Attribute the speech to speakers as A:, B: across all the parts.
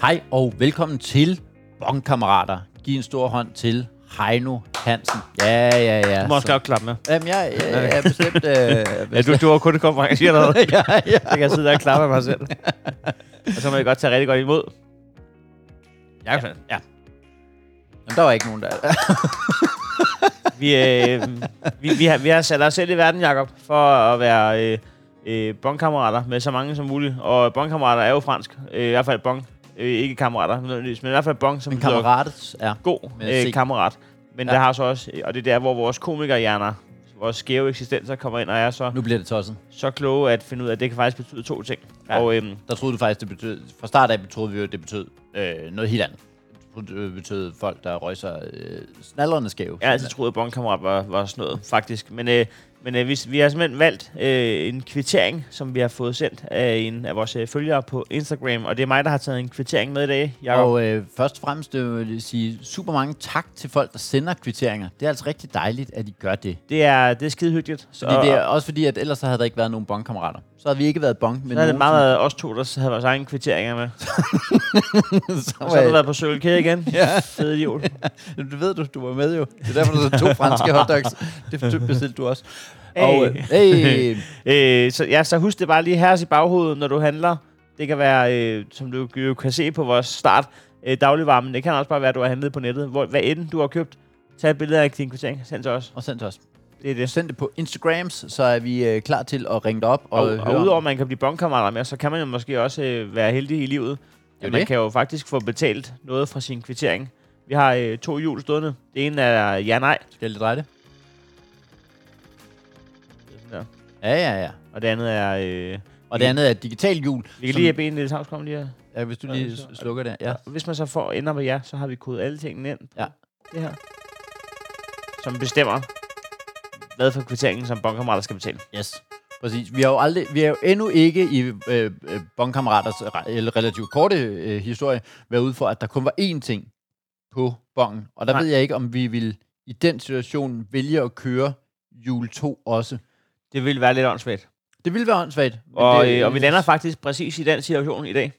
A: Hej og velkommen til Bonkammerater. Giv en stor hånd til Heino Hansen. Ja, ja, ja.
B: Du må også
A: Så-
B: godt klappe med.
A: Jamen, jeg, jeg, jeg er bestemt... Øh,
B: Altså. Ja, du, du har kun konferencier allerede.
A: ja, ja.
B: Så kan jeg sidde der og klappe af mig selv. Og så må jeg godt tage rigtig godt imod. Jakobsen. Ja.
A: Jamen, der var ikke nogen, der...
B: Vi, øh, vi, vi, har, vi har sat os selv i verden, Jakob, for at være øh, øh, bongkammerater med så mange som muligt. Og bongkammerater er jo fransk. Øh, I hvert fald bong. Øh, ikke kammerater, nødvendigvis, men i hvert fald bong, som
A: Men
B: betyder
A: kammeratet er...
B: god
A: Med
B: øh,
A: C.
B: kammerat. Men
A: Ja.
B: ja. der har så også, og det er der, hvor vores komikerhjerner, vores skæve eksistenser kommer ind og er så,
A: Nu bliver det tosset.
B: så kloge at finde ud af, at det kan faktisk betyde to ting.
A: Ja.
B: Ja. Og øhm,
A: Der troede du faktisk, det betød... Fra start af troede vi jo, at det betød øh, noget helt andet. Det betød- betød folk, der røg sig øh, snallerne skæve.
B: Jeg har altid troet, at bondkammerat var, var sådan noget, faktisk. Men, øh, men øh, vi, vi har simpelthen valgt øh, en kvittering, som vi har fået sendt af en af vores øh, følgere på Instagram. Og det er mig, der har taget en kvittering med i dag, Jacob.
A: Og øh, først og fremmest øh, vil jeg sige super mange tak til folk, der sender kvitteringer. Det er altså rigtig dejligt, at I gør det.
B: Det er, det er skide hyggeligt. Så,
A: Fordi det er
B: Øh, og
A: også fordi, at ellers så havde der ikke været nogen bongkammerater. Så havde vi ikke været bong, men
B: så er det
A: nogen,
B: meget været os to, der s- havde vores egne kvitteringer med.
A: som- så
B: Og så har
A: var-
B: du været på Sølvkæde igen.
A: Ja.
B: ja. Fed idiot.
A: Jamen, Det ved du, du var med jo. Det er derfor, der er to franske hotdogs. Det fortø- bestilte du også. Og, øh, hey,
B: Øh, så, ja, så husk det bare lige her i baghovedet, når du handler. Det kan være, øh, som du jo kan se på vores start, øh, dagligvarmen. Det kan også bare være, at du har handlet på nettet. Hvor, hvad end du har købt, tag et billede af din kvittering. Send til os.
A: og send til os.
B: Det er det.
A: Send det på Instagrams, så er vi øh, klar til at ringe dig op og,
B: Og,
A: høre.
B: og udover at man kan blive bondkammerater med, så kan man jo måske også øh, være heldig i
A: Det
B: livet.
A: er
B: Ja,
A: jo
B: man
A: det.
B: kan jo faktisk få betalt noget fra sin kvittering. Vi har øh, to hjul stående. Det ene er ja-nej,
A: Skal jeg lige dreje det? Ja, ja, ja.
B: og det andet er... Øh,
A: Og det andet er et digitalt hjul.
B: vi kan
A: som-
B: lige have benet lidt havskom lige her.
A: ja, hvis du lige s- slukker det. Ja.
B: Ja. Hvis man så får ender på ja, så har vi kodet alle tingene ind på
A: Ja.
B: det her. Som bestemmer, hvad for kvitteringen, som bondkammerater skal betale.
A: Yes. Præcis. Vi har jo, aldrig, vi har jo endnu ikke i øh, øh, bongkammeraters re- eller relativt korte øh, historie været ude for, at der kun var én ting på bongen. Og der Nej.
B: Nej.
A: ved jeg ikke, om vi ville i den situation vælge at køre jul 2 også.
B: Det vil være lidt åndssvagt.
A: Det ville være åndssvagt. men
B: Og,
A: det,
B: øh, og vi lander faktisk præcis i den situation i dag.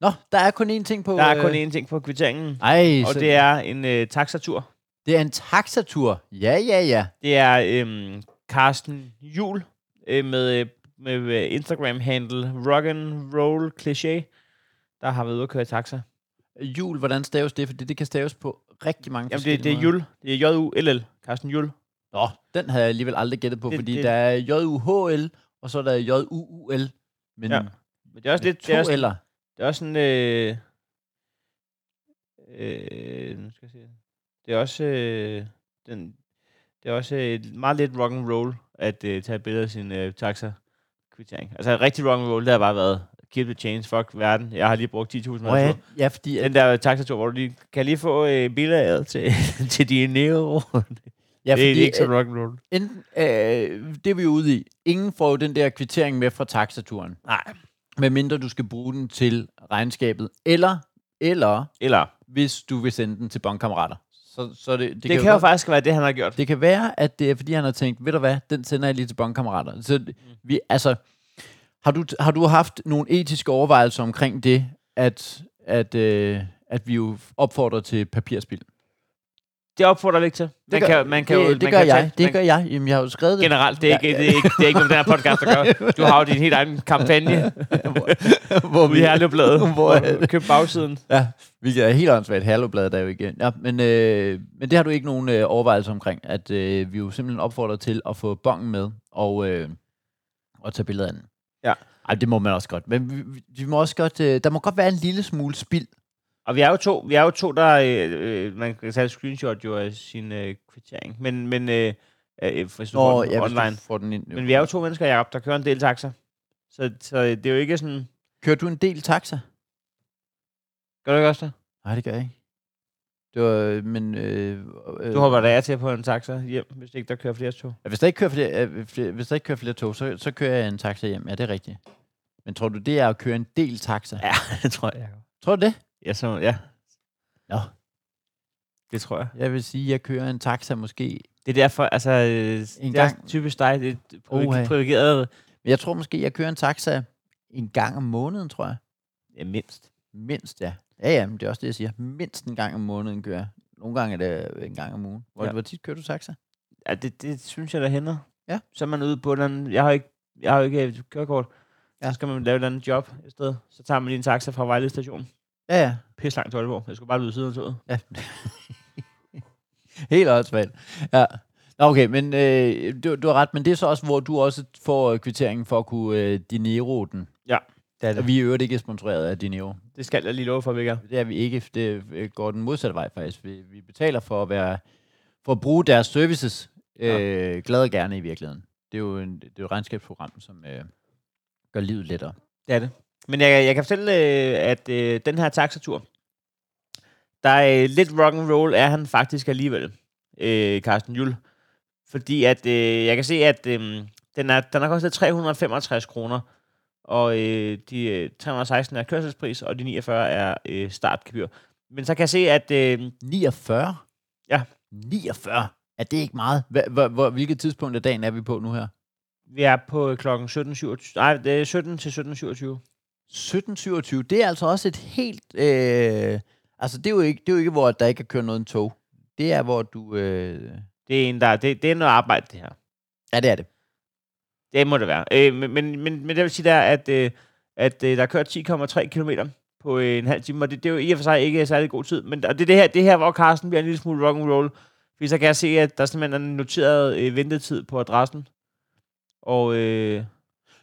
A: Nå, der er kun én ting på...
B: Der er kun
A: øh,
B: én ting på kvitteringen,
A: Ej,
B: og
A: så-
B: det er en øh, taxatur.
A: det er en taxatur. Ja, ja, ja.
B: Det er øh, Carsten Jul øh, med, øh, med øh, Instagram-handle Rock and Roll Cliché, der har været ude at køre i taxa.
A: Jul, hvordan staves det? Fordi det kan staves på rigtig mange
B: Jamen,
A: forskellige
B: det, det er
A: måder.
B: Jul. Det er J-U-L-L. Carsten Jul.
A: Nå, den havde jeg alligevel aldrig gættet på, det,
B: Det-
A: fordi det.
B: det-
A: der er JUHL, og så er der JUUL. Men
B: Ja.
A: ja.
B: Men det er også
A: med
B: lidt...
A: to
B: Det er også,
A: eller.
B: Det er også sådan... Øh, øh, nu skal jeg se. Det er også... Øh, den, det er også øh, meget lidt rock and roll at øh, tage billeder af sin øh, taxa kvittering. Altså rigtig rock and roll, det har bare været keep the change, fuck verden. Jeg har lige brugt 10.000
A: Oh, ja,
B: oh,
A: ja, fordi at,
B: Den der taxatur, hvor du lige, kan jeg lige få øh, billedet til, til dine neo.
A: ja,
B: det er
A: fordi,
B: ikke så rock and roll.
A: at enten, øh, det er vi jo ude i. Ingen får jo den der kvittering med fra taxaturen,
B: Nej.
A: medmindre du skal bruge den til regnskabet. Eller, eller
B: Eller, det,
A: hvis du vil sende den til bondkammerater. Så, så det, det,
B: det kan, jo
A: godt-
B: faktisk være det, han har gjort.
A: Det kan være, at det er, fordi han har tænkt, ved du hvad, den sender jeg lige til bondkammerater. Så vi, altså, har du, har du haft nogle etiske overvejelser omkring det, at, at, øh, at vi jo opfordrer til papirspil?
B: Det opfordrer vi ikke til. Man
A: gør-
B: kan, man kan,
A: det,
B: jo,
A: det
B: man
A: gør
B: kan
A: jeg.
B: jo tage- man-
A: Det gør jeg. Jamen, jeg har jo skrevet det.
B: Generelt, det er, ikke, det, er ikke, det er ikke noget, den her podcast, der gør. Du har jo din helt egen kampagne
A: hvor
B: ude i Herlevbladet,
A: Hvor
B: hvor
A: er
B: du købte bagsiden.
A: Ja, hvilket er helt åndssvagt. Hallobladet er jo ikke... Ja, men, øh, men det har du ikke nogen øh, overvejelse omkring, at øh, vi jo simpelthen opfordrer til at få bongen med og, øh, og tage billeder af den.
B: Ja.
A: Ej, det må man også godt. Men vi, vi- vi må også godt, øh, der må godt være en lille smule spild.
B: Og vi er jo to, vi er jo to der... øh, Øh, man kan tage et screenshot jo af sin øh, kvittering, men, men øh, øh, hvis du Nå, får den
A: ja, hvis du
B: online.
A: får den ind.
B: Men vi er jo to mennesker, Jacob, der kører en del taxa. Så, så det er jo ikke sådan...
A: Kører du en del taxa?
B: Gør du ikke også det?
A: Nej, det gør jeg ikke. Det var, øh, men... Øh, øh,
B: Du hopper da af til på en taxa hjem, hvis ikke der kører flere tog.
A: Ja, Hvis der ikke kører flere, øh, flere, hvis der ikke kører flere tog, så, så kører jeg en taxa hjem. Ja, det er rigtigt. Men tror du, det er at køre en del taxa?
B: Ja, det tror jeg, Jacob.
A: Tror du det?
B: Ja, så, ja.
A: Nå.
B: Det tror jeg.
A: Jeg vil sige, at jeg kører en taxa måske.
B: Det er derfor, altså... øh, det er
A: gang.
B: typisk dig, det er
A: Oha.
B: privi- privilegeret
A: Men jeg tror måske, jeg kører en taxa en gang om måneden, tror jeg.
B: Ja, mindst.
A: Mindst, ja. Ja, ja, men det er også det, jeg siger. Mindst en gang om måneden kører jeg. Nogle gange er det øh, en gang om ugen. Hvor,
B: Ja.
A: ja. hvor tit kører du taxa?
B: Ja, det, det synes jeg, der hænder.
A: Ja.
B: Så er man ude på et eller andet... Jeg har jo ikke, jeg har jo ikke øh, kørekort. Ja.
A: Ja.
B: Så skal man lave et eller andet job i stedet. Så tager man lige en taxa fra Vejle station.
A: Ja, ja.
B: Pisse langt til Aalborg. Jeg skulle bare lyde siden af toget.
A: ja. Helt åndssvagt. Ja. Nå, okay, men øh, du, du har ret, men det er så også, hvor du også får øh, kvitteringen for at kunne øh, dinero den.
B: Ja.
A: Det er det. Og vi er i øvrigt ikke sponsoreret af Dinero.
B: Det skal jeg lige love for, vi ikke er.
A: Det er vi ikke. Det øh, går den modsatte vej faktisk. Vi, vi betaler for at, være, for at bruge deres services
B: Ja.
A: ja. øh, glad og gerne i virkeligheden. Det er jo, en, det er jo et regnskabsprogram, som øh, gør livet lettere.
B: Det er det. Men jeg, jeg kan fortælle, øh, at øh, den her taxatur, der er øh, lidt rock and roll er han faktisk alligevel, øh, Carsten Jul. Fordi at, øh, jeg kan se, at øh, den, er, den har kostet 365 kroner, og øh, de øh, 316 er kørselspris, og de 49 er øh, startgebyr. Men så kan jeg se, at øh,
A: 49?
B: Ja.
A: 49? Er det ikke meget? Hva- hva- hvor- Hvilket tidspunkt af dagen er vi på nu her?
B: vi er på klokken 17.27. Nej, det er 17 til 17.27.
A: 17.27, det er altså også et helt... Øh, altså, det er, jo ikke, det er jo ikke, hvor der ikke kan køre noget en tog. Det er, hvor du... Øh,
B: Det er, en, der, det, det er noget arbejde, det her.
A: ja, det er det.
B: Det må det være. Øh, men, men, men, men det vil sige der, at, øh, at øh, der er kørt 10,3 km på øh, en halv time, og det, det er jo i og for sig ikke særlig god tid. Men og det er det her, det her, hvor Carsten bliver en lille smule rock'n'roll. Fordi så kan jeg se, at der simpelthen er en noteret øh, ventetid på adressen. Og, øh,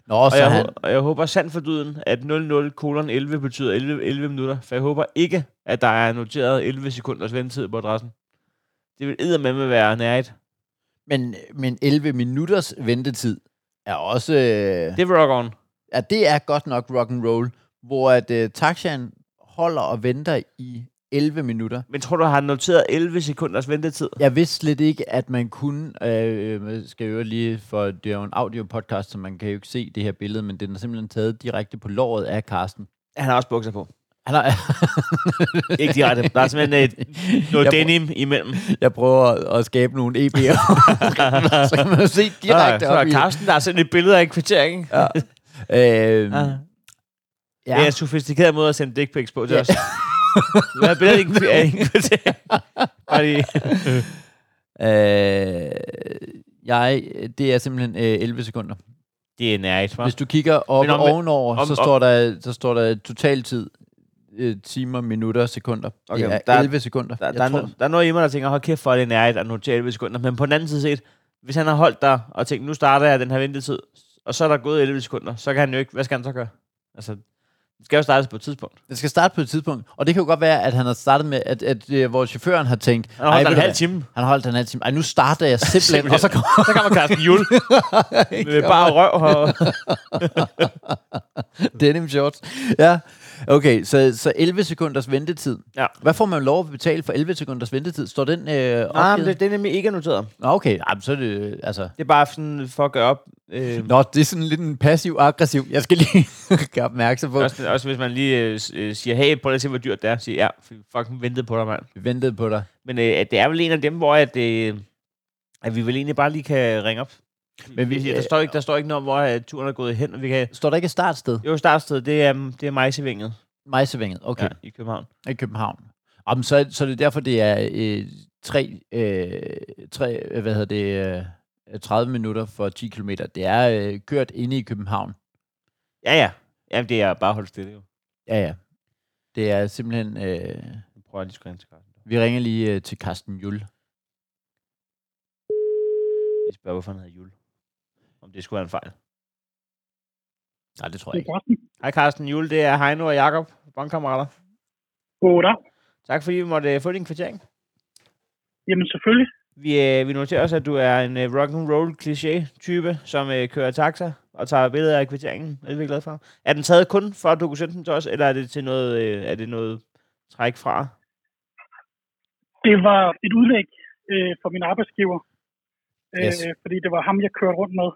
A: Nå,
B: og,
A: så
B: jeg,
A: han,
B: han... og jeg håber sandt for dyden, at 00 kolon 11 betyder 11, 11 minutter. For jeg håber ikke, at der er noteret 11 sekunders ventetid på adressen. Det vil eddermame være nært.
A: men, men 11 minutters ventetid er også... Øh,
B: Det er rock on.
A: ja, det er godt nok rock and roll, hvor at øh, taxaen holder og venter i 11 minutter.
B: Men tror du, har han noteret 11 sekunders ventetid?
A: Jeg vidste slet ikke, at man kunne, øh, øh, skal jeg jo lige, for det er jo en audio-podcast, så man kan jo ikke se det her billede, men den er simpelthen taget direkte på låret af Karsten.
B: Han har også bukser på.
A: Han har,
B: Ikke direkte. Der er simpelthen et, noget
A: Jeg
B: denim imellem.
A: jeg prøver at, at skabe nogle EP'er, så kan man jo se direkte
B: Ah, så er
A: op i.
B: Carsten, der har sendt et billede af en kvittering. Ja.
A: Øh,
B: Ah. Det er en sofistikeret måde at sende dick pics på til
A: Ja.
B: os. Hvad er billedet af en kvi- af en kvittering? Bare lige.
A: Øh, jeg, det er simpelthen øh, 11 sekunder.
B: Det er nært, hva'?
A: Hvis du kigger op
B: Men om-
A: om, ovenover,
B: om-
A: om, så,
B: om-
A: står der, så står der totaltid, øh, timer, minutter, sekunder.
B: Okay,
A: Okay, det
B: der
A: er
B: er-
A: 11 sekunder.
B: Der,
A: Jeg
B: der, er
A: tror-
B: no, der er noget i mig, der tænker, hold kæft for, at det er nært at notere 11 sekunder. Men på den anden side set, hvis han har holdt der og tænkt, nu starter jeg den her ventetid, og så er der gået 11 sekunder, så kan han jo ikke, hvad skal han så gøre? Altså, det skal jo startes på et tidspunkt.
A: Det skal starte på et tidspunkt, og det kan jo godt være, at han har startet med, at, at, at hvor chaufføren har tænkt,
B: Han har holdt
A: "Ej,
B: der
A: ved
B: en
A: du
B: halv
A: hvad?
B: time.
A: han har holdt en halv time. Ej, nu starter jeg simpelthen,
B: Simpelthen.
A: og så kommer
B: Så kommer Carsten Jul med bare røv og
A: denim shorts. Ja, okay, så, så 11 sekunders ventetid.
B: Ja.
A: Hvad får man lov at betale for 11 sekunders ventetid? Står den øh, opgivet?
B: Nej, Ah, men det, det er nemlig ikke noteret.
A: Nå, okay, Ej, men så er det, øh, altså...
B: Det er bare sådan for at gøre op. Øh,
A: Nå, det er sådan lidt en passiv-aggressiv. Jeg skal lige gøre opmærksom på.
B: også, også hvis man lige øh, s- øh, siger, hey, prøv lige at se, hvor dyrt det er. Siger, ja, f- fucking ventede på dig, mand.
A: Vi ventede på dig.
B: Men øh, at det er vel en af dem, hvor at, øh, at vi vel egentlig bare lige kan ringe op. Men vi,
A: øh,
B: der, står ikke, der står ikke noget om, hvor øh, turen er gået hen. Og vi kan,
A: Står der ikke et startsted?
B: jo, startstedet, det er, det er Mejsevænget
A: Mejsevænget,
B: okay.
A: okay,
B: ja, i København.
A: ja. i København. Jamen, så, så er det derfor, det er øh, tre, øh, tre, øh, hvad hedder det, øh, 30 minutter for 10 km. Det er øh, kørt inde i København.
B: Ja, ja. Jamen, det er bare holdt stille, jo.
A: Ja, ja. Det er simpelthen... Øh,
B: Nu prøver jeg lige at skrive ind til Carsten.
A: vi ringer lige øh, til Carsten Jul.
B: Vi spørger, hvorfor han hedder Jul. Om det skulle være en fejl.
A: Nej, det tror jeg
C: Det er
A: ikke.
C: Carsten.
B: Hej Carsten Jul, det er Heino og Jakob, bankkammerater.
C: Goddag.
B: Tak fordi vi måtte øh, få din kvittering.
C: Jamen selvfølgelig.
B: Vi, øh, vi noterer også, at du er en øh, rock'n'roll kliché-type, som øh, kører taxa og tager billeder af kvitteringen. Det er vi glade for. Er den taget kun for, at du kunne sende den til os, eller er det til noget, øh, er det noget træk fra?
C: Det var et udlæg øh, for min arbejdsgiver. Øh,
A: Yes.
C: Fordi det var ham, jeg kørte rundt med.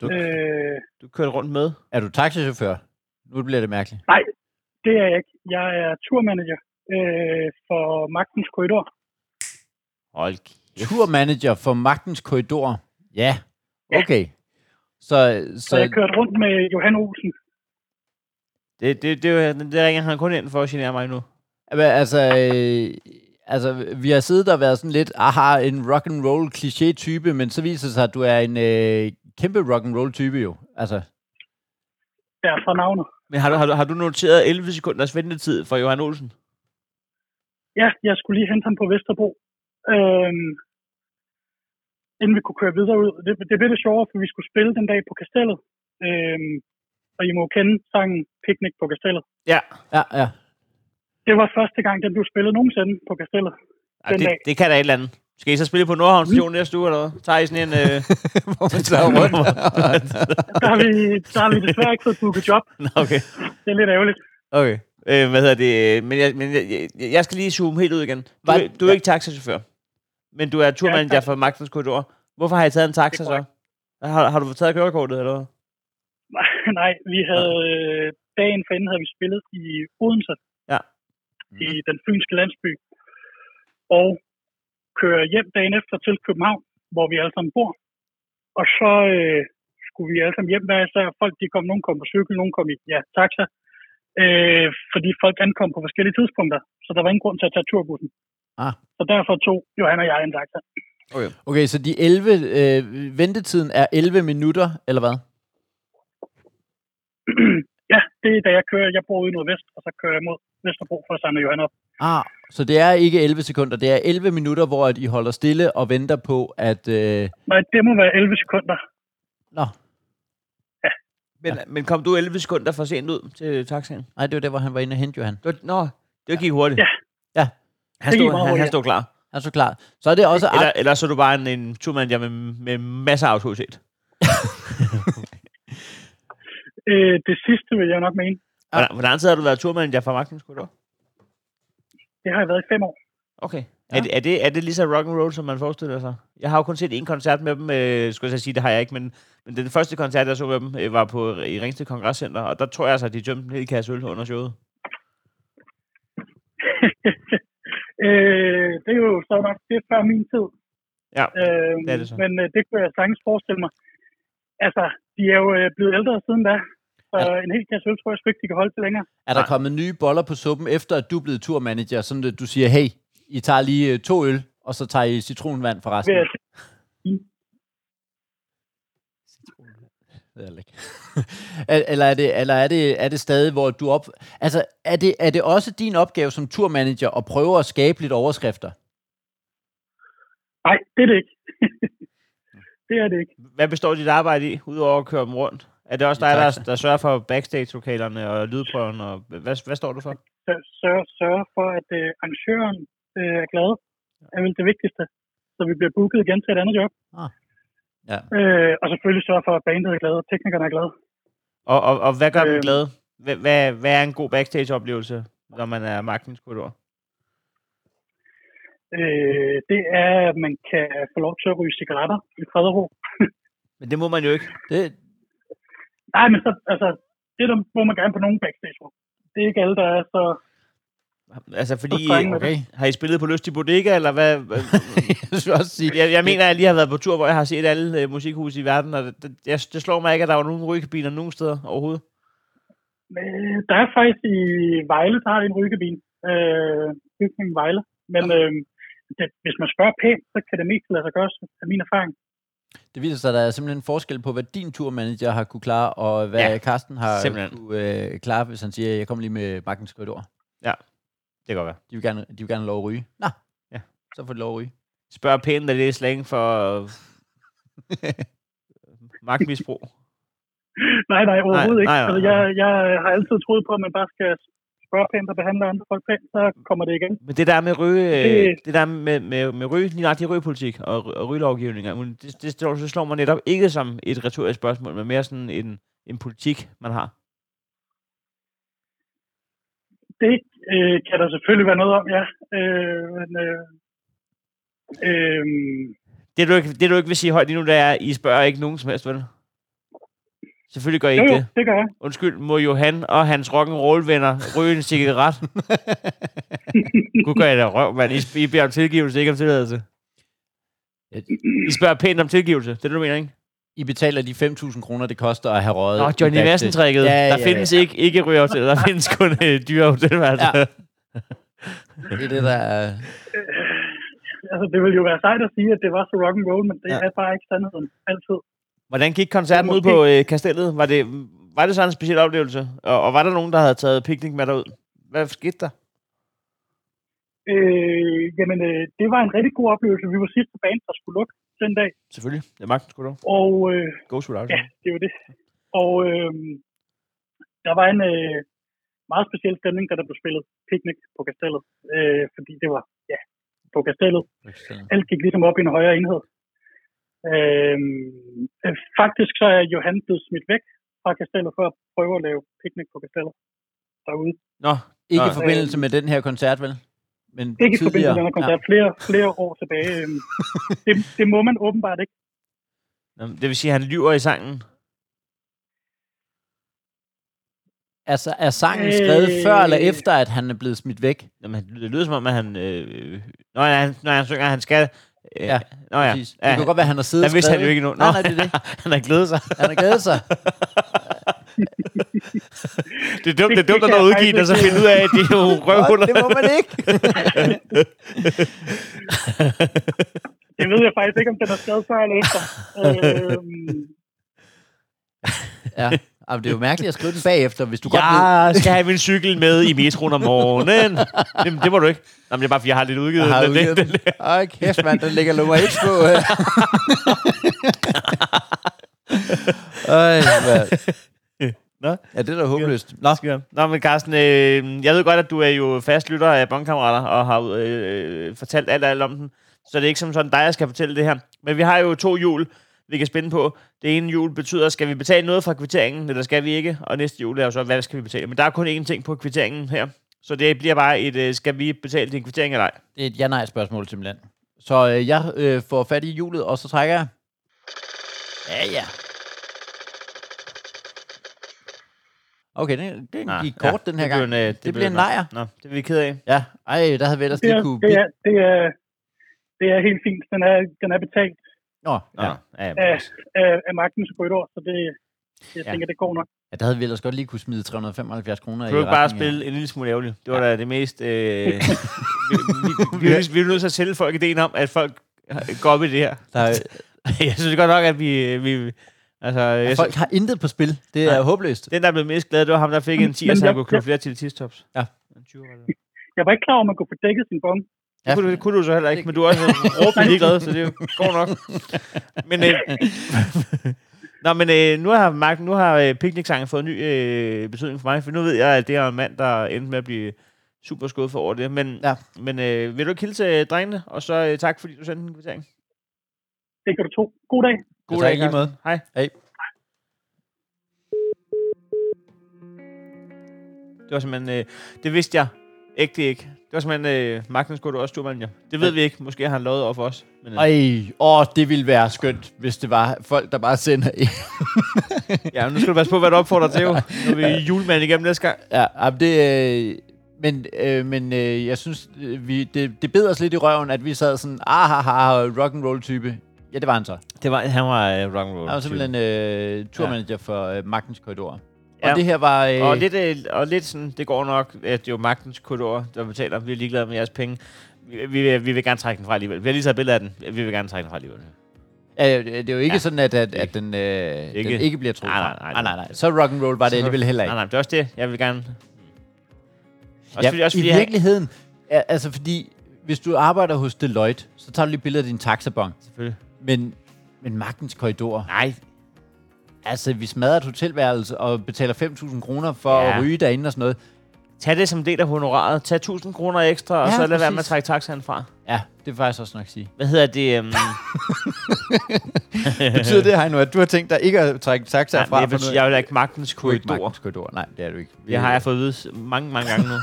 A: Du,
C: Øh,
B: Du kørte rundt med?
A: er du taxichauffør? Nu bliver det mærkeligt.
C: det er jeg ikke. Jeg er turmanager øh, for Magtens Korridor.
B: Hold kæft.
A: Turmanager for Magtens Korridor. Ja,
C: Ja.
A: okay. Så,
C: Så jeg
A: så
C: kørte rundt med Johan Olsen.
B: Det, det, det, er jo- det, det ringer han kun ind for at genere mig nu.
A: Hva- Altså, øh, altså, vi har siddet og været sådan lidt, aha, en rock and roll kliché type, men så viser det sig, at du er en øh, kæmpe rock and roll type jo. Altså,
C: Ja, fra navnet.
B: Men har du, har, du, har du noteret 11 sekunders ventetid for Johan Olsen?
C: Ja, jeg skulle lige hente ham på Vesterbro. Øhm, inden vi kunne køre videre ud. Det, det blev det sjovere, for vi skulle spille den dag på Kastellet. Øhm, og I må jo kende sangen Picnic på Kastellet.
B: Ja.
A: ja, ja.
C: Det var første gang, den blev spillet nogensinde på Kastellet.
B: Ej,
C: Den
B: det,
C: dag.
B: det kan da et eller andet. Skal I så spille på Nordhavn Station næste uge, eller hvad? Tager I sådan en... Øh...
A: Hvor man tager rundt.
C: Der har vi, der har vi desværre ikke fået booket job.
B: Nå, okay.
C: Det er lidt ærgerligt.
A: okay.
B: Øh, hvad hedder det? Men, jeg, men jeg, jeg, jeg skal lige zoome helt ud igen. Du,
A: Hvad?
B: er- du er ikke taxachauffør, men du er turmand,
C: Ja,
B: jeg for Magtens Korridor. Hvorfor har I taget en taxa
C: Det er
B: så? Har, har du taget kørekortet, eller hvad?
C: Nej, Nej, vi havde øh, dagen forinden havde vi spillet i Odense.
B: Ja.
C: I den fynske landsby. Og kører hjem dagen efter til København, hvor vi alle sammen bor. Og så øh, skulle vi alle sammen hjem hver især. Folk, de kom, nogen kom på cykel, nogen kom i ja, taxa. Øh, fordi folk ankom på forskellige tidspunkter. Så der var ingen grund til at tage turbussen.
A: Ah.
C: Så derfor tog Johan og jeg en taxa.
A: Okay, så de 11, øh, ventetiden er 11 minutter, eller hvad?
C: ja, det er da jeg kører. Jeg bor ude i Nordvest, og så kører jeg mod Vesterbro for at samle Johan op.
A: Ah, så det er ikke 11 sekunder, det er 11 minutter, hvor at I holder stille og venter på, at... Øh,
C: Nej, det må være 11 sekunder.
A: nå,
B: Men, ja. men kom du 11 sekunder for sent ud til taxaen?
A: nej, det var der, hvor han var inde og hente Johan.
B: Du, nå, det gik hurtigt.
C: Ja.
A: Ja.
B: Han
C: Det gik
B: stod,
C: meget
B: han, han
C: hurtigt.
B: stod klar.
A: Er så klar. Så er det også...
B: Eller, eller så er du bare en, en turmand, jeg med, med masser af autoritet.
C: Øh, det sidste vil jeg nok mene.
A: Ja.
B: Hvordan, hvor lang tid har du været turmand, jeg for Magtens Korridor?
C: Det har jeg været i fem år.
B: Okay.
A: Ja.
B: Ja. Er, det, er, det, er det lige så rock and roll, som man forestiller sig? Jeg har jo kun set én koncert med dem, øh, skulle jeg så sige, det har jeg ikke, men, men den første koncert, jeg så med dem, øh, var på i Ringsted Kongresscenter, og der tror jeg altså, at de tømte en hel kasse øl under showet.
C: Øh, det er jo så nok det er før min tid.
B: Ja,
C: Øh,
B: det er det så.
C: Men øh, det kunne jeg sagtens forestille mig. Altså, de er jo øh, blevet ældre siden da. Så en hel kasse øl, tror jeg sgu ikke, de kan holde til længere.
A: Er der
B: Nej.
A: kommet nye boller på suppen, efter at du er blevet turmanager, sådan at du siger, hey, I tager lige øh, to øl, og så tager I citronvand for resten?
C: Ved
A: Ja.
C: at-
A: eller er det, eller er det, er det stadig, hvor du op... Altså, er det, er det også din opgave som turmanager at prøve at skabe lidt overskrifter?
C: Nej, det er det ikke. det er det ikke.
B: Hvad består dit arbejde i, udover at køre dem rundt? Er det også
A: I
B: dig, der,
A: taxa.
B: der sørger for backstage-lokalerne og lydprøven, og hvad, hvad står du for?
C: Så sørge, sørge for, at øh, arrangøren øh, er glad, er vel det vigtigste. Så vi bliver booket igen til et andet job.
A: Ah. Ja.
C: Øh, og selvfølgelig sørge for, at bandet er glad, og teknikerne er glade.
B: Og, og, og hvad gør dem
C: Øhm.
B: glade? Hvad, hvad, hvad er en god backstage-oplevelse, når man er Magtens Korridor?
C: Øh, det er, at man kan få lov til at ryge cigaretter i fred og ro.
B: Men det må man jo ikke.
A: Det,
C: Nej, men så, altså, det der må man gerne på nogle backstage rum. Det er ikke alle, der er så...
B: Altså, fordi...
C: strenge med det.
A: okay.
B: Har I spillet på Lystig Bodega, eller hvad? hvad-
A: Jeg skulle også sige,
B: Jeg, jeg mener, at jeg lige har været på tur, hvor jeg har set alle øh, musikhuse i verden, og det, det, jeg, det slår mig ikke, at der var nogen rygekabiner nogen steder overhovedet.
C: Men øh, der er faktisk i Vejle, der har de en ryggebin. Øh, bygningen Vejle. Men øh, det, hvis man spørger pænt, så kan det mest lade sig gøre, af min erfaring.
A: det viser sig, at der er simpelthen forskel på, hvad din turmanager har kunne klare, og hvad ja,
B: Ja,
A: Carsten har
B: simpelthen.
A: kunne øh, klare, hvis han siger, jeg kommer lige med magtens korridor.
B: Det kan godt være.
A: De vil gerne, de vil gerne have lov at ryge. Nå, ja.
B: Ja.
A: så får de lov at ryge.
B: Spørg pænt, er det slang for øh, magtmisbrug?
C: Nej, nej, overhovedet
B: Nej, nej,
C: ikke.
B: nej,
C: altså, jeg, jeg har altid troet på, at man bare skal spørge pænt og behandle andre folk pænt, så kommer det igen.
B: Men det der med ryge, øh,
C: Det-
B: det der med, med, med ryge, lige nøjagtig rygepolitik og, ry- og rygelovgivninger, men det, det, slår- det slår mig netop ikke som et retorisk spørgsmål, men mere sådan en, en politik, man har.
C: Det øh, kan der selvfølgelig være noget om, ja. Øh, men, øh, øh,
B: Det du, ikke, det, du ikke vil sige højt lige nu, det er, I spørger ikke nogen som helst, vel? Selvfølgelig gør I
C: jo,
B: ikke
C: jo,
B: det.
C: det gør jeg.
B: Undskyld, må Johan og hans rock'n'roll-venner ryge en cigaret? Gud gør jeg da røv, mand. I, I beder om tilgivelse, ikke om tilladelse. I spørger pænt om tilgivelse. Det er det, du mener, ikke?
A: I betaler de 5.000 kroner, det koster at have røget.
B: Nå,
A: i
B: Johnny
A: backstage.
B: Madsen-tricket.
A: Ja, ja,
B: der findes ikke, ikke rygerhotel, der findes kun øh, dyrehotelværelser.
A: Ja.
B: Ja.
A: Det er det, der er...
C: Altså, det ville jo være sejt at sige, at det var så rock and roll, men det
A: Ja.
C: ja. er bare ikke sandheden altid.
B: Hvordan gik koncerten ud på øh, kastellet? Var det, var det så en speciel oplevelse? Og, og var der nogen, der havde taget picnic med derud? Hvad skete der?
C: Øh, jamen, øh, det var en rigtig god oplevelse. Vi var sidste band, der skulle lukke den dag,
B: Selvfølgelig. Det er magten, skulle du.
C: og øh,
B: Go to
C: ja, det er jo det. Og øh, der var en øh, meget speciel stemning, da der blev spillet picnic på kastellet, øh, fordi det var, ja, på kastellet. alt gik ligesom op i en højere enhed. Øhm, øh, faktisk så er Johan blevet smidt væk fra kastellet for at prøve at lave picnic på kastellet derude.
B: Nå,
A: Ikke i
B: Nej.
A: forbindelse med den her koncert, vel? Men
C: Ikke i forbindelse
A: tidligere.
C: med den her koncert, flere, flere år tilbage. Øhm, det, det må man åbenbart ikke.
B: Jamen, det vil sige, at han lyver i sangen.
A: Ja. Altså, er sangen skrevet
C: Øh.
A: før eller efter, at han er blevet smidt væk?
B: Jamen, han- det lyder som om, at han... Øh, når, han når han synger, at han skal... Øh,
A: Ja,
B: Nå ja.
A: Præcis.
B: ja.
A: Det kunne godt være, at han har siddet
B: Der
A: og
B: vidste han
A: skrevet,
B: jo ikke nu. Nå,
A: Nej, nej, det er det.
B: han har glædet sig.
A: Han har glædet sig.
B: Det er dumt, det er dumt
C: Det- det
B: at
C: kan
B: der
C: jeg
B: udgivet, og
C: faktisk
B: så
C: ikke-
B: finde ud af, at det er jo
A: Nå,
B: røvhuller.
A: det må man ikke.
C: Det ved jeg faktisk ikke, om den er skrevet før eller efter. Øhm,
A: Ja. Jamen, det er jo mærkeligt at skrive den bagefter, hvis du godt ved...
B: Jeg skal have min cykel med i metroen om morgenen. Jamen, det må du ikke. Jamen, det er bare, fordi jeg har lidt udgivet.
A: Jeg har
B: den.
A: udgivet den. Åh, kæft, mand, den ligger nummer et på. øh. Øj, mand.
B: Nå.
A: Ja, det er da håbløst. Nå,
B: Nå. Nå, men Carsten, øh, jeg ved godt, at du er jo fast lytter af Bondkammerater og har øh, fortalt alt, alt om den. Så det er ikke som sådan dig, jeg skal fortælle det her. Men vi har jo to hjul, vi kan spænde på. Det ene hjul betyder, skal vi betale noget fra kvitteringen, eller skal vi ikke? Og næste hjul er jo så, hvad skal vi betale? Men der er kun én ting på kvitteringen her. Så det bliver bare et, øh, skal vi betale din kvittering eller ej?
A: det er et ja-nej-spørgsmål simpelthen. Så øh, jeg øh, får fat i hjulet, og så trækker jeg. Ja, ja. Okay, den, den
B: Nå,
A: gik kort den her
B: Ah, det
A: gang.
B: Blev en, øh, det,
A: bliver en nejer.
B: Nå, det er vi ked af.
A: Ja, ej, der havde vi ellers
C: det,
A: lige
C: er,
A: kunne...
C: det, er, det, er, det er helt fint. Den er, den er betalt
A: Nå,
B: Nå,
A: ja.
B: ja. Ja,
C: af,
B: ja.
C: af, af magtens korridor, så det, jeg
B: Ja.
C: tænker, det går nok.
A: ja, der havde vi ellers godt lige kunne smide 375 kroner i
B: Kan du ikke
A: retning
B: bare
A: af-
B: spille en lille smule ærgerligt? Det var ja. da det mest... Øh, vi, vi, vi, vi, vi er nødt til at sælge folk ideen om, at folk øh, går op i det her.
A: Der, er-
B: Jeg synes godt nok, at vi... øh, vi altså, jeg
A: folk
B: synes,
A: har intet på spil. Det er
B: Nej.
A: håbløst.
B: den, der blev mest glad, det var ham, der fik en 10, så
C: Men
B: han
C: jeg-
B: kunne købe
C: jeg-
B: flere til tistops.
A: Ja.
B: En 20 var det.
C: Jeg var ikke klar over, at man kunne få dækket sin bong.
A: Ja.
B: Det kunne, du, det kunne du så heller ikke, men du er også råbende ligeglad, så det er jo godt nok. Men, øh, Nå, men øh, nu har, Mark, nu har øh, picnic-sangen fået en ny øh, betydning for mig, for nu ved jeg, at det er en mand, der endte med at blive super skuffet over det. Men,
A: Ja.
B: men øh, vil du ikke hilse øh, drengene, og så øh, tak, fordi du sendte en kvittering.
C: Det kan du tro. God dag.
A: Ja, tak, i lige
B: Carsten.
A: måde.
B: Hej.
A: Hej.
B: Det var simpelthen, øh, det vidste jeg ægte ikke. Det var simpelthen øh, Magnus Gordo og Sturman, ja. Det ved vi ikke. Måske har han lovet over for os. Men, øh,
A: Ej, åh, det ville være skønt, hvis det var folk, der bare sender en.
B: Ja, men nu skal du passe på, hvad du opfordrer til, jo. Nu er vi julemanden igennem næste gang.
A: Ja, jamen det, øh, men øh, men øh, jeg synes, øh, vi, det, det bed os lidt i røven, at vi sad sådan, ah, ha, ha, rock and roll type. Ja, det var han så.
B: Det var, han var øh, rock'n'roll.
A: Han var simpelthen øh, turmanager for øh, Magtens Korridor. Ja.
B: Ja.
A: Og det her var... Øh,
B: Og lidt, øh, og lidt sådan, det går nok, at det er jo magtens korridor, der betaler. Vi er ligeglade med jeres penge. Vi, vi, vil- vi vil gerne trække den fra alligevel. Vi har lige taget billede af den. Vi vil gerne trække den fra alligevel.
A: øh, det er jo ikke
B: Ja.
A: ja. sådan, at, at, at den, øh, ikke.
B: Ikke-
A: den ikke bliver troet.
B: Nej, nej,
A: fra.
B: nej.
A: nej, nej, nej. Så rock and roll var det alligevel heller ikke.
B: Nej, nej, det er også det. Jeg vil gerne... Også
A: ja,
B: fordi, også
A: I
B: fordi, jeg,
A: virkeligheden, ja, altså fordi, hvis du arbejder hos Deloitte, så tager du lige billeder af din taxabon.
B: selvfølgelig.
A: Men, men magtens korridor,
B: Nej,
A: altså vi smadrer et hotelværelse og betaler 5.000 kroner for
B: Ja.
A: ja. at ryge derinde og sådan noget.
B: tag det som en del af honoraret. Tag 1000 kroner ekstra, ja, og
A: Ja,
B: så lad være
A: præcis.
B: med at trække taxaen fra.
A: Ja, det vil jeg faktisk også nok sige.
B: Hvad hedder det? Um,
A: Betyder det, Heino, at du har tænkt dig ikke at trække taxaer
B: nej, jeg, vil, jeg vil ikke magtens
A: Du er ikke
B: korridor.
A: magtens korridor. Nej, det er du ikke. Vi-
B: Det har jeg fået at vide mange, mange gange nu.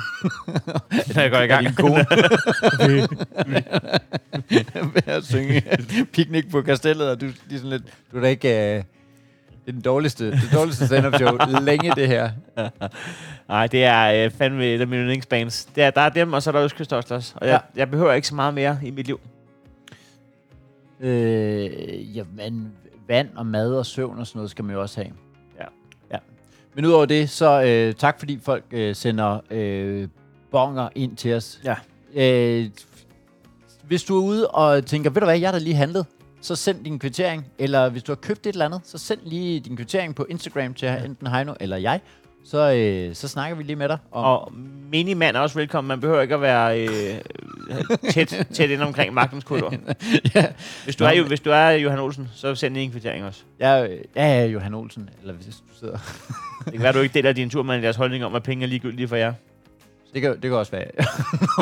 B: Når jeg går i
A: af
B: gang.
A: din kone. Ved at synge picnic på kastellet, og du, de er sådan lidt, du er da ikke... Øh, det er den dårligste, det dårligste stand-up show længe, det her.
B: Nej, det er øh, fandme et af mine yndlingsbands. Det er, der er dem, og så er der Østkyst Ostlers. Og jeg, jeg behøver ikke så meget mere i mit liv.
A: Øh, jamen, vand og mad og søvn og sådan noget skal man jo også have.
B: Ja.
A: ja. Men udover det, så øh, tak fordi folk øh, sender øh, bonger ind til os.
B: Ja.
A: Øh, hvis du er ude og tænker, ved du hvad, jeg har da lige handlet, så send din kvittering, eller hvis du har købt et eller andet, så send lige din kvittering på Instagram til enten Heino eller jeg, så, øh, så snakker vi lige med dig. Om,
B: Og minimand er også velkommen. Man behøver ikke at være øh, tæt, tæt ind omkring magtens korridor.
A: ja.
B: Hvis du,
A: Nå,
B: er, jo-
A: men-
B: hvis du er Johan Olsen, så send lige en kvittering også.
A: Jeg, øh, ja, ja, Johan Olsen, eller hvis du sidder...
B: Det kan være, du ikke deler din turmand deres holdning om, at penge er ligegyldige for jer.
A: Det kan, det kan også være.
B: Du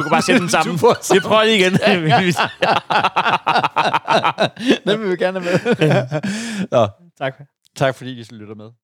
B: kan bare sende den sammen.
A: Du får sammen.
B: Det prøver lige igen.
A: Den vil vi gerne have med. Nå,
B: tak.
A: tak fordi I lytter med.